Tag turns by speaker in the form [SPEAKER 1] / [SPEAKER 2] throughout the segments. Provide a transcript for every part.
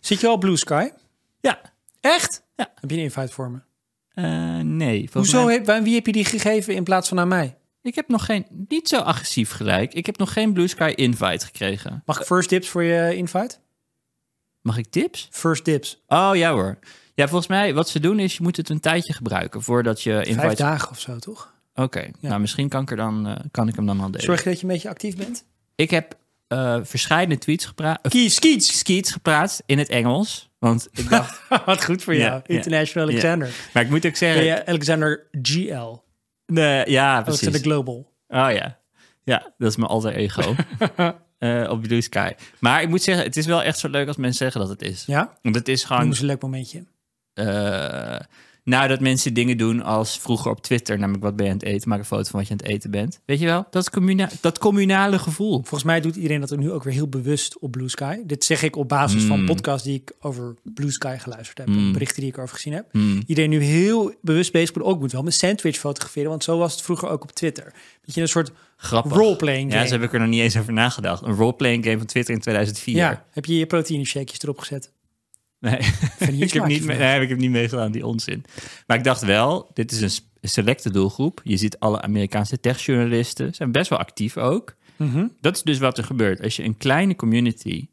[SPEAKER 1] Zit je al op Blue Sky?
[SPEAKER 2] Ja.
[SPEAKER 1] Echt?
[SPEAKER 2] Ja.
[SPEAKER 1] Heb je een invite voor me?
[SPEAKER 2] Eh, nee. volgens
[SPEAKER 1] Hoezo?
[SPEAKER 2] mij-
[SPEAKER 1] Heb, waar- wie heb je die gegeven in plaats van aan mij?
[SPEAKER 2] Ik heb nog geen... Niet zo agressief gelijk. Ik heb nog geen Blue Sky invite gekregen.
[SPEAKER 1] Mag ik first dips voor je invite?
[SPEAKER 2] Mag ik tips?
[SPEAKER 1] First dips.
[SPEAKER 2] Oh, ja hoor. Ja, volgens mij, wat ze doen is, je moet het een tijdje gebruiken voordat je
[SPEAKER 1] Vijf
[SPEAKER 2] invite...
[SPEAKER 1] dagen of zo, toch?
[SPEAKER 2] Oké, nou misschien kan ik, er dan, eh, kan ik hem dan al delen.
[SPEAKER 1] Zorg je dat je een beetje actief bent?
[SPEAKER 2] Ik heb eh verschillende tweets gepraat. eh,
[SPEAKER 1] Kies, kies.
[SPEAKER 2] Skeets gepraat in het Engels. Want ik dacht...
[SPEAKER 1] Wat goed voor
[SPEAKER 2] Ja,
[SPEAKER 1] jou.
[SPEAKER 2] ja.
[SPEAKER 1] International Alexander.
[SPEAKER 2] maar ik moet ook zeggen... Oh,
[SPEAKER 1] Ben je Alexander GL.
[SPEAKER 2] Nee, ja, precies.
[SPEAKER 1] Alexander Global.
[SPEAKER 2] Oh ja. Ja, dat is mijn alter ego. Eh, op Blue Sky. Maar ik moet zeggen, het is wel echt zo leuk als mensen zeggen dat het is.
[SPEAKER 1] Ja?
[SPEAKER 2] Want het is
[SPEAKER 1] Noem
[SPEAKER 2] gewoon...
[SPEAKER 1] eens een leuk momentje.
[SPEAKER 2] eh, nou, dat mensen dingen doen als vroeger op Twitter. Namelijk, wat ben je aan het eten? Maak een foto van wat je aan het eten bent. Weet je wel? Dat, communa dat communale gevoel.
[SPEAKER 1] Volgens mij doet iedereen dat er nu ook weer heel bewust op Blue Sky. Dit zeg ik op basis van podcasts die ik over Blue Sky geluisterd heb. en Berichten die ik over gezien heb.
[SPEAKER 2] Hmm,
[SPEAKER 1] Iedereen nu heel bewust bezig moet. Ook ik moet wel mijn sandwich fotograferen. Want zo was het vroeger ook op Twitter. Dat je een soort
[SPEAKER 2] Grappig.
[SPEAKER 1] roleplaying
[SPEAKER 2] Ja,
[SPEAKER 1] game.
[SPEAKER 2] zo heb ik er nog niet eens over nagedacht. Een roleplaying game van Twitter in 2004.
[SPEAKER 1] Ja, heb je je proteïne shakejes erop gezet?
[SPEAKER 2] Nee,
[SPEAKER 1] Vanille
[SPEAKER 2] ik heb,
[SPEAKER 1] smaakje
[SPEAKER 2] niet mee,
[SPEAKER 1] van.
[SPEAKER 2] nee, ik heb niet meegedaan, die onzin. Maar ik dacht wel, dit is een s- een selecte doelgroep. Je ziet alle Amerikaanse techjournalisten, zijn best wel actief ook.
[SPEAKER 1] Mhm.
[SPEAKER 2] Dat is dus wat er gebeurt. Als je een kleine community,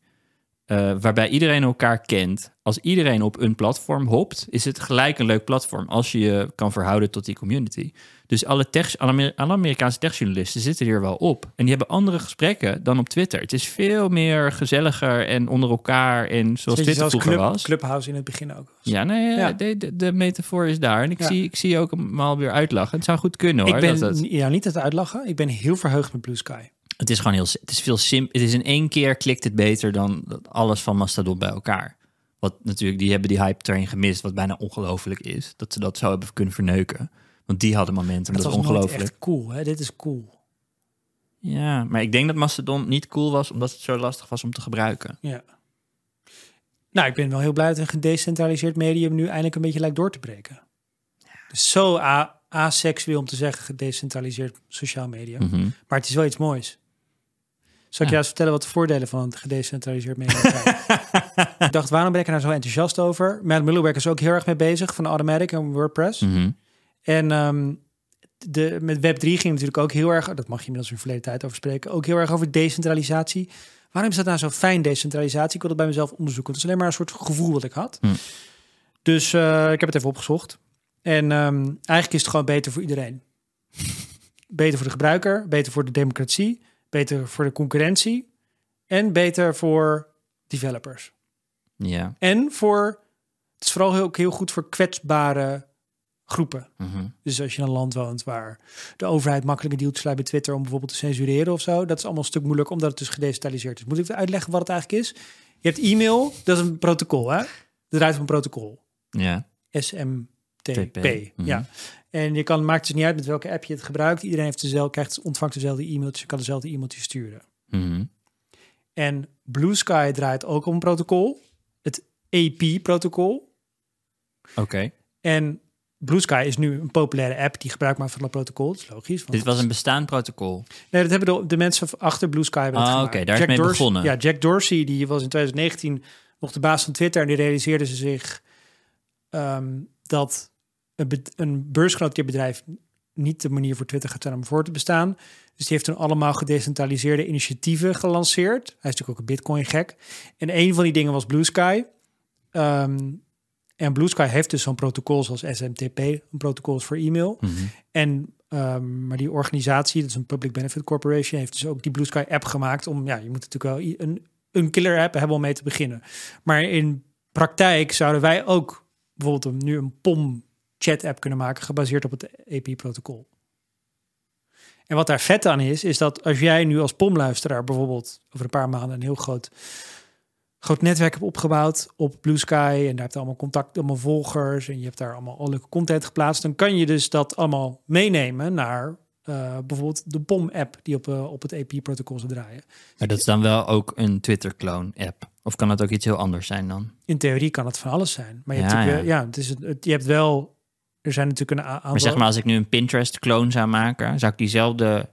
[SPEAKER 2] eh, waarbij iedereen elkaar kent... als iedereen op een platform hopt, is het gelijk een leuk platform... als je je kan verhouden tot die community. Dus alle, tech, alle, Amer- alle Amerikaanse techjournalisten zitten hier wel op. En die hebben andere gesprekken dan op Twitter. Het is veel meer gezelliger en onder elkaar... en zoals
[SPEAKER 1] Weet je,
[SPEAKER 2] Twitter
[SPEAKER 1] zoals
[SPEAKER 2] vroeger
[SPEAKER 1] club,
[SPEAKER 2] was.
[SPEAKER 1] Clubhouse in het begin ook.
[SPEAKER 2] Ja, nee,
[SPEAKER 1] Ja.
[SPEAKER 2] De, de, de metafoor is daar. En ik,
[SPEAKER 1] Ja.
[SPEAKER 2] zie, ik zie ook hem alweer uitlachen. Het zou goed kunnen hoor.
[SPEAKER 1] ik ben
[SPEAKER 2] dat het,
[SPEAKER 1] jou niet aan het uitlachen. Ik ben heel verheugd met Blue Sky.
[SPEAKER 2] het is gewoon heel... Het is veel sim, Het is in één keer klikt het beter dan dat alles van Mastodon bij elkaar. Wat natuurlijk, die hebben die hype train gemist. Wat bijna ongelooflijk is. Dat ze dat zo hebben kunnen verneuken. Want die hadden momenten.
[SPEAKER 1] Dat was
[SPEAKER 2] Dat, is
[SPEAKER 1] nooit
[SPEAKER 2] ongelooflijk.
[SPEAKER 1] echt cool. Hè? Dit is cool.
[SPEAKER 2] Ja, maar ik denk dat Mastodon niet cool was. Omdat het zo lastig was om te gebruiken.
[SPEAKER 1] Ja. Nou, ik ben wel heel blij dat een gedecentraliseerd medium nu eindelijk een beetje lijkt door te breken. Het is zo a- aseksueel om te zeggen gedecentraliseerd sociaal medium.
[SPEAKER 2] Mhm.
[SPEAKER 1] Maar het is wel iets moois. Zal ik jou
[SPEAKER 2] Ja.
[SPEAKER 1] eens vertellen wat de voordelen van een gedecentraliseerd medium zijn? ik dacht, waarom ben ik er nou zo enthousiast over? Matt Mullenberg is ook heel erg mee bezig van Automatic en WordPress.
[SPEAKER 2] Mhm.
[SPEAKER 1] En ehm, de, met Web3 ging het natuurlijk ook heel erg, dat mag je inmiddels in verleden tijd over spreken, ook heel erg over decentralisatie. Waarom is dat nou zo fijn, decentralisatie? Ik wil dat bij mezelf onderzoeken. Het is alleen maar een soort gevoel wat ik had.
[SPEAKER 2] Hm.
[SPEAKER 1] Dus eh, ik heb het even opgezocht. En ehm, eigenlijk is het gewoon beter voor iedereen. beter voor de gebruiker, beter voor de democratie, beter voor de concurrentie en beter voor developers.
[SPEAKER 2] Ja.
[SPEAKER 1] En voor, het is vooral heel- ook heel goed voor kwetsbare groepen.
[SPEAKER 2] Mhm.
[SPEAKER 1] Dus als je in een land woont waar de overheid makkelijk een deal te sluiten met Twitter om bijvoorbeeld te censureren of zo, dat is allemaal een stuk moeilijk omdat het dus gedecentraliseerd is. Moet ik uitleggen wat het eigenlijk is? Je hebt e-mail, dat is een protocol, hè? Dat draait om een protocol.
[SPEAKER 2] Ja.
[SPEAKER 1] SMTP.
[SPEAKER 2] TP, mhm.
[SPEAKER 1] Ja. En je kan, maakt dus niet uit met welke app je het gebruikt. Iedereen heeft dezelfde, krijgt, ontvangt dezelfde e-mailtjes, je kan dezelfde e-mailtjes sturen.
[SPEAKER 2] Mhm.
[SPEAKER 1] En Blue Sky draait ook om een protocol, het AP-protocol.
[SPEAKER 2] Oké.
[SPEAKER 1] En Blue Sky is nu een populaire app die gebruik maakt van dat protocol. Dat is logisch. want
[SPEAKER 2] Dit was een bestaand protocol.
[SPEAKER 1] Nee, dat hebben de, de mensen achter Blue Sky hebben dat
[SPEAKER 2] Ah,
[SPEAKER 1] gemaakt.
[SPEAKER 2] oké, daar is
[SPEAKER 1] Jack
[SPEAKER 2] mee
[SPEAKER 1] Dorsey-
[SPEAKER 2] begonnen.
[SPEAKER 1] Ja, Jack Dorsey, die was in 2019 nog de baas van Twitter. En die realiseerde ze zich ehm, dat een, be- een beursgenoteerd bedrijf niet de manier voor Twitter gaat zijn om voor te bestaan. Dus die heeft toen allemaal gedecentraliseerde initiatieven gelanceerd. Hij is natuurlijk ook een bitcoin-gek. En een van die dingen was Blue Sky. Ehm, en Blue Sky heeft dus zo'n protocol zoals SMTP, een protocol is voor e-mail. En ehm, maar die organisatie, dat is een Public Benefit Corporation, heeft dus ook die Blue Sky app gemaakt om, ja, je moet natuurlijk wel i- een, een killer app hebben om mee te beginnen. Maar in praktijk zouden wij ook bijvoorbeeld een- nu een POM chat app kunnen maken gebaseerd op het AP-protocol. En wat daar vet aan is, is dat als jij nu als POM-luisteraar bijvoorbeeld over een paar maanden een heel groot, groot netwerk hebt opgebouwd op Blue Sky en daar hebt allemaal contact, allemaal volgers en je hebt daar allemaal alle leuke content geplaatst, dan kan je dus dat allemaal meenemen naar eh, bijvoorbeeld de POM-app die op, eh, op het AP-protocol zou draaien.
[SPEAKER 2] Maar dat is dan wel ook een Twitter-clone-app. Of kan dat ook iets heel anders zijn dan?
[SPEAKER 1] In theorie kan het van alles zijn, maar je hebt,
[SPEAKER 2] Ja,
[SPEAKER 1] natuurlijk wel- ja. het is, het- het- je hebt wel, er zijn natuurlijk een a- aantal...
[SPEAKER 2] Maar zeg maar, als ik nu een Pinterest-clone zou maken, zou ik diezelfde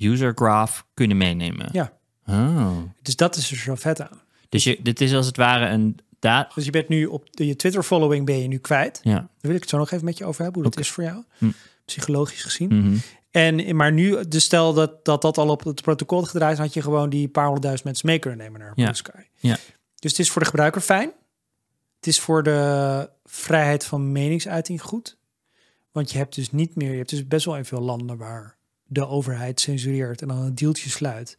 [SPEAKER 2] user graph kunnen meenemen?
[SPEAKER 1] Ja,
[SPEAKER 2] Oh.
[SPEAKER 1] dus dat is er zo vet aan.
[SPEAKER 2] Dus je, dit is als het ware een daar,
[SPEAKER 1] Dus je bent nu op de, je Twitter-following ben je nu kwijt.
[SPEAKER 2] ja.
[SPEAKER 1] Daar wil ik het zo nog even met je over hebben, hoe dat is voor jou,
[SPEAKER 2] Hm.
[SPEAKER 1] psychologisch gezien.
[SPEAKER 2] mhm.
[SPEAKER 1] En, maar nu, dus stel dat, dat dat al op het protocol had gedraaid, had je gewoon die paar honderdduizend mensen mee kunnen nemen naar
[SPEAKER 2] Ja.
[SPEAKER 1] Blue Sky.
[SPEAKER 2] Ja.
[SPEAKER 1] Dus het is voor de gebruiker fijn. Het is voor de vrijheid van meningsuiting goed. Want je hebt dus niet meer, je hebt dus best wel in veel landen waar de overheid censureert en dan een deeltje sluit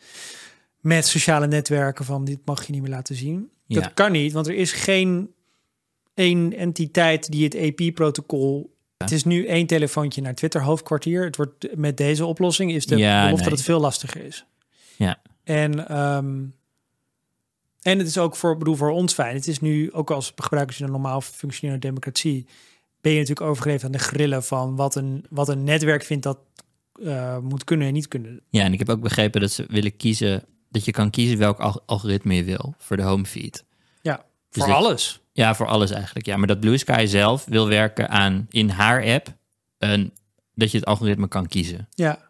[SPEAKER 1] met sociale netwerken van dit mag je niet meer laten zien.
[SPEAKER 2] Ja.
[SPEAKER 1] Dat kan niet, want er is geen één entiteit die het EP-protocol. Het is nu één telefoontje naar Twitter hoofdkwartier. Het wordt met deze oplossing is de
[SPEAKER 2] Ja,
[SPEAKER 1] belofte
[SPEAKER 2] nee.
[SPEAKER 1] dat het veel lastiger is.
[SPEAKER 2] Ja.
[SPEAKER 1] En ehm, en het is ook voor, bedoel, voor ons fijn. Het is nu, ook als gebruikers in een normaal functionerende democratie, ben je natuurlijk overgeleverd aan de grillen van wat een, wat een netwerk vindt dat eh, moet kunnen en niet kunnen.
[SPEAKER 2] ja, en ik heb ook begrepen dat ze willen kiezen, dat je kan kiezen welk alg- algoritme je wil voor de homefeed.
[SPEAKER 1] Ja,
[SPEAKER 2] Dus
[SPEAKER 1] voor
[SPEAKER 2] ik-
[SPEAKER 1] alles.
[SPEAKER 2] Ja, voor alles eigenlijk. Ja, maar dat Blue Sky zelf wil werken aan in haar app een, dat je het algoritme kan kiezen.
[SPEAKER 1] Ja,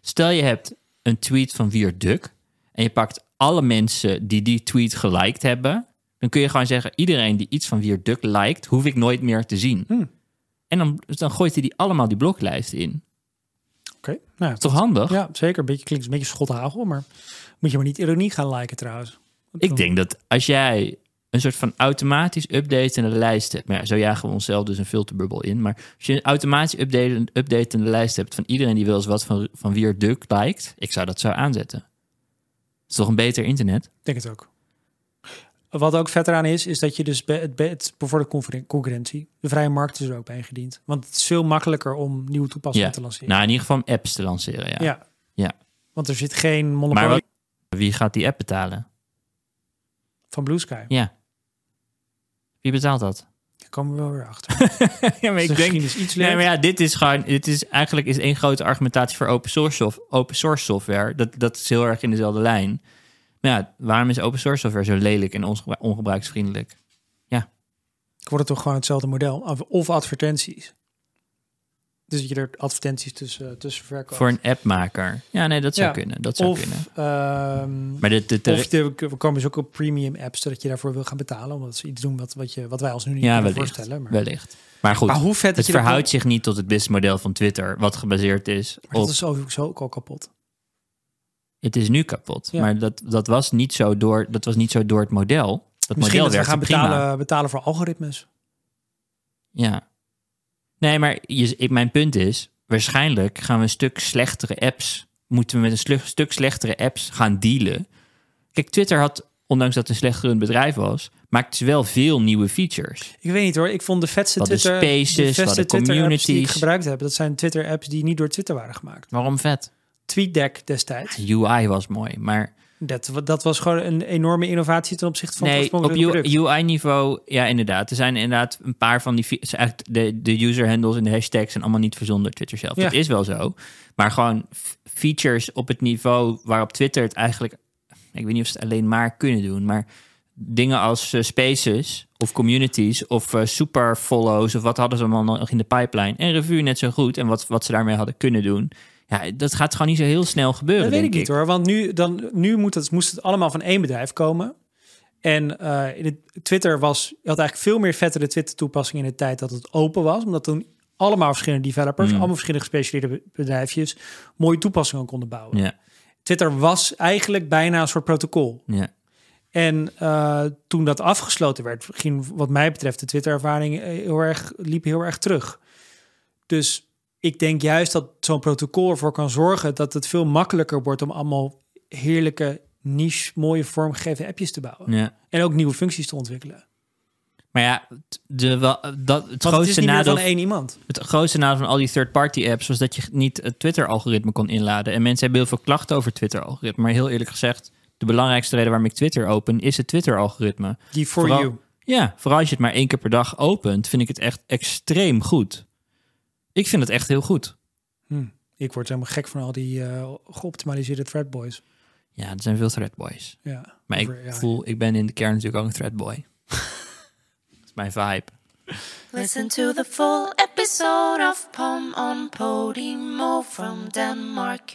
[SPEAKER 2] Stel je hebt een tweet van Wier Duk en je pakt alle mensen die die tweet geliked hebben, dan kun je gewoon zeggen: iedereen die iets van Wier Duk liked, hoef ik nooit meer te zien. En dan, dan gooit hij die allemaal die bloklijst in.
[SPEAKER 1] oké. Nou, ja,
[SPEAKER 2] Toch handig?
[SPEAKER 1] Ja, zeker. Een beetje klinkt een beetje schothagel, maar moet je maar niet ironie gaan liken trouwens.
[SPEAKER 2] Ik denk dat als jij een soort van automatisch updatende lijst hebt. Maar ja, zo jagen we onszelf dus een filterbubbel in. Maar als je een automatisch updatende, updatende lijst hebt van iedereen die wel eens wat van, van Weird Duck lijkt, ik zou dat zo aanzetten. is toch een beter internet?
[SPEAKER 1] Ik denk het ook. Wat ook vet eraan is, is dat je dus be- het, be- het bevordert conferen- concurrentie. De vrije markt is er ook bij ingediend. Want het is veel makkelijker om nieuwe toepassingen
[SPEAKER 2] Ja.
[SPEAKER 1] te lanceren.
[SPEAKER 2] Nou, in ieder geval om apps te lanceren. Ja.
[SPEAKER 1] ja.
[SPEAKER 2] Ja.
[SPEAKER 1] Want er zit geen monopolie
[SPEAKER 2] Maar wat- wie gaat die app betalen?
[SPEAKER 1] van Blue Sky.
[SPEAKER 2] Ja. Wie betaalt dat?
[SPEAKER 1] Daar komen we wel weer achter.
[SPEAKER 2] ja, maar
[SPEAKER 1] Dus misschien is iets
[SPEAKER 2] Nee,
[SPEAKER 1] leuk.
[SPEAKER 2] maar ja, dit is gewoon. Dit is eigenlijk is één grote argumentatie voor open source, sof- open source software. Dat, dat is heel erg in dezelfde lijn. Maar ja, waarom is open source software zo lelijk en ongebru- ongebruiksvriendelijk?
[SPEAKER 1] Ik word het toch gewoon hetzelfde model. Of, of advertenties. Dus dat je er advertenties tussen, eh, tussen verkoopt.
[SPEAKER 2] Voor een appmaker. Ja, nee, dat zou
[SPEAKER 1] Ja,
[SPEAKER 2] kunnen. Dat zou kunnen.
[SPEAKER 1] of, ehm,
[SPEAKER 2] Maar dit, dit,
[SPEAKER 1] Of de, we komen dus ook op premium apps, zodat je daarvoor wil gaan betalen. Omdat ze iets doen wat, wat, je, wat wij als nu niet
[SPEAKER 2] ja,
[SPEAKER 1] kunnen
[SPEAKER 2] wellicht.
[SPEAKER 1] voorstellen. Maar,
[SPEAKER 2] Wellicht. Maar goed,
[SPEAKER 1] maar hoe vet dat
[SPEAKER 2] het
[SPEAKER 1] je dat kan-
[SPEAKER 2] verhoudt zich niet tot het businessmodel van Twitter, wat gebaseerd is
[SPEAKER 1] Maar
[SPEAKER 2] op.
[SPEAKER 1] dat is overigens ook al kapot.
[SPEAKER 2] Het is nu kapot.
[SPEAKER 1] Ja.
[SPEAKER 2] Maar dat, dat, was niet zo door, dat was niet zo door het model. Dat
[SPEAKER 1] Misschien dat
[SPEAKER 2] model
[SPEAKER 1] we
[SPEAKER 2] werkte
[SPEAKER 1] gaan
[SPEAKER 2] prima.
[SPEAKER 1] betalen, betalen voor algoritmes.
[SPEAKER 2] Ja. Nee, maar je, ik- mijn punt is, waarschijnlijk gaan we een stuk slechtere apps, moeten we met een slu- stuk slechtere apps gaan dealen. Kijk, Twitter had, ondanks dat het een slecht gerund bedrijf was, maakt ze wel veel nieuwe features.
[SPEAKER 1] Ik weet niet hoor. Ik vond de vetste
[SPEAKER 2] Wat de
[SPEAKER 1] Twitter,
[SPEAKER 2] spaces,
[SPEAKER 1] de vetste
[SPEAKER 2] wat de
[SPEAKER 1] Twitter apps die ik
[SPEAKER 2] communities.
[SPEAKER 1] gebruikt heb. Dat zijn Twitter apps die niet door Twitter waren gemaakt.
[SPEAKER 2] Waarom vet?
[SPEAKER 1] TweetDeck destijds.
[SPEAKER 2] De UI was mooi, maar
[SPEAKER 1] Dat, wa- dat was gewoon een enorme innovatie ten opzichte van het
[SPEAKER 2] nee, op
[SPEAKER 1] oorspronkelijke product.
[SPEAKER 2] UI-niveau, ja inderdaad. Er zijn inderdaad een paar van die, fe- ze eigenlijk de, de user handles en de hashtags zijn allemaal niet verzonnen door Twitter zelf.
[SPEAKER 1] Ja.
[SPEAKER 2] Dat is wel zo. Maar gewoon f- features op het niveau waarop Twitter het eigenlijk, ik weet niet of ze het alleen maar kunnen doen, maar dingen als eh, spaces of communities of eh, super follows of wat hadden ze allemaal nog in de pipeline en review net zo goed en wat, wat ze daarmee hadden kunnen doen. Ja, dat gaat gewoon niet zo heel snel gebeuren.
[SPEAKER 1] Dat weet ik
[SPEAKER 2] denk
[SPEAKER 1] niet hoor, want nu, dan, nu moet het, moest het allemaal van één bedrijf komen. En eh, in het, Twitter was, je had eigenlijk veel meer vettere Twitter-toepassingen in de tijd dat het open was. Omdat toen allemaal verschillende developers,
[SPEAKER 2] Mm.
[SPEAKER 1] allemaal verschillende gespecialiseerde be- bedrijfjes, mooie toepassingen konden bouwen.
[SPEAKER 2] Ja,
[SPEAKER 1] Twitter was eigenlijk bijna een soort protocol.
[SPEAKER 2] ja.
[SPEAKER 1] En eh, toen dat afgesloten werd, ging wat mij betreft de Twitter-ervaring eh, heel erg, liep heel erg terug. Dus ik denk juist dat zo'n protocol ervoor kan zorgen dat het veel makkelijker wordt om allemaal heerlijke, niche, mooie vormgegeven appjes te bouwen.
[SPEAKER 2] ja.
[SPEAKER 1] En ook nieuwe functies te ontwikkelen.
[SPEAKER 2] Maar ja, t- de, wel- eh,
[SPEAKER 1] Want
[SPEAKER 2] dat, het,
[SPEAKER 1] het is
[SPEAKER 2] grootste
[SPEAKER 1] niet meer
[SPEAKER 2] nadeel,
[SPEAKER 1] van één iemand.
[SPEAKER 2] het grootste nadeel van al die third-party apps was dat je niet het Twitter-algoritme kon inladen. En mensen hebben heel veel klachten over het Twitter-algoritme. Maar heel eerlijk gezegd, de belangrijkste reden waarom ik Twitter open is het Twitter-algoritme.
[SPEAKER 1] Die for
[SPEAKER 2] Vooral-
[SPEAKER 1] you.
[SPEAKER 2] Ja, vooral als je het maar één keer per dag opent, vind ik het echt extreem goed. Ik vind het echt heel goed.
[SPEAKER 1] Hm. Ik word helemaal gek van al die eh, geoptimaliseerde threadboys.
[SPEAKER 2] Ja, er zijn veel threadboys.
[SPEAKER 1] Ja.
[SPEAKER 2] Maar ik
[SPEAKER 1] Over- ja.
[SPEAKER 2] voel, ik ben in de kern natuurlijk ook een threadboy. dat is mijn vibe.
[SPEAKER 3] Listen to the full episode of Pom on Podimo from Denmark.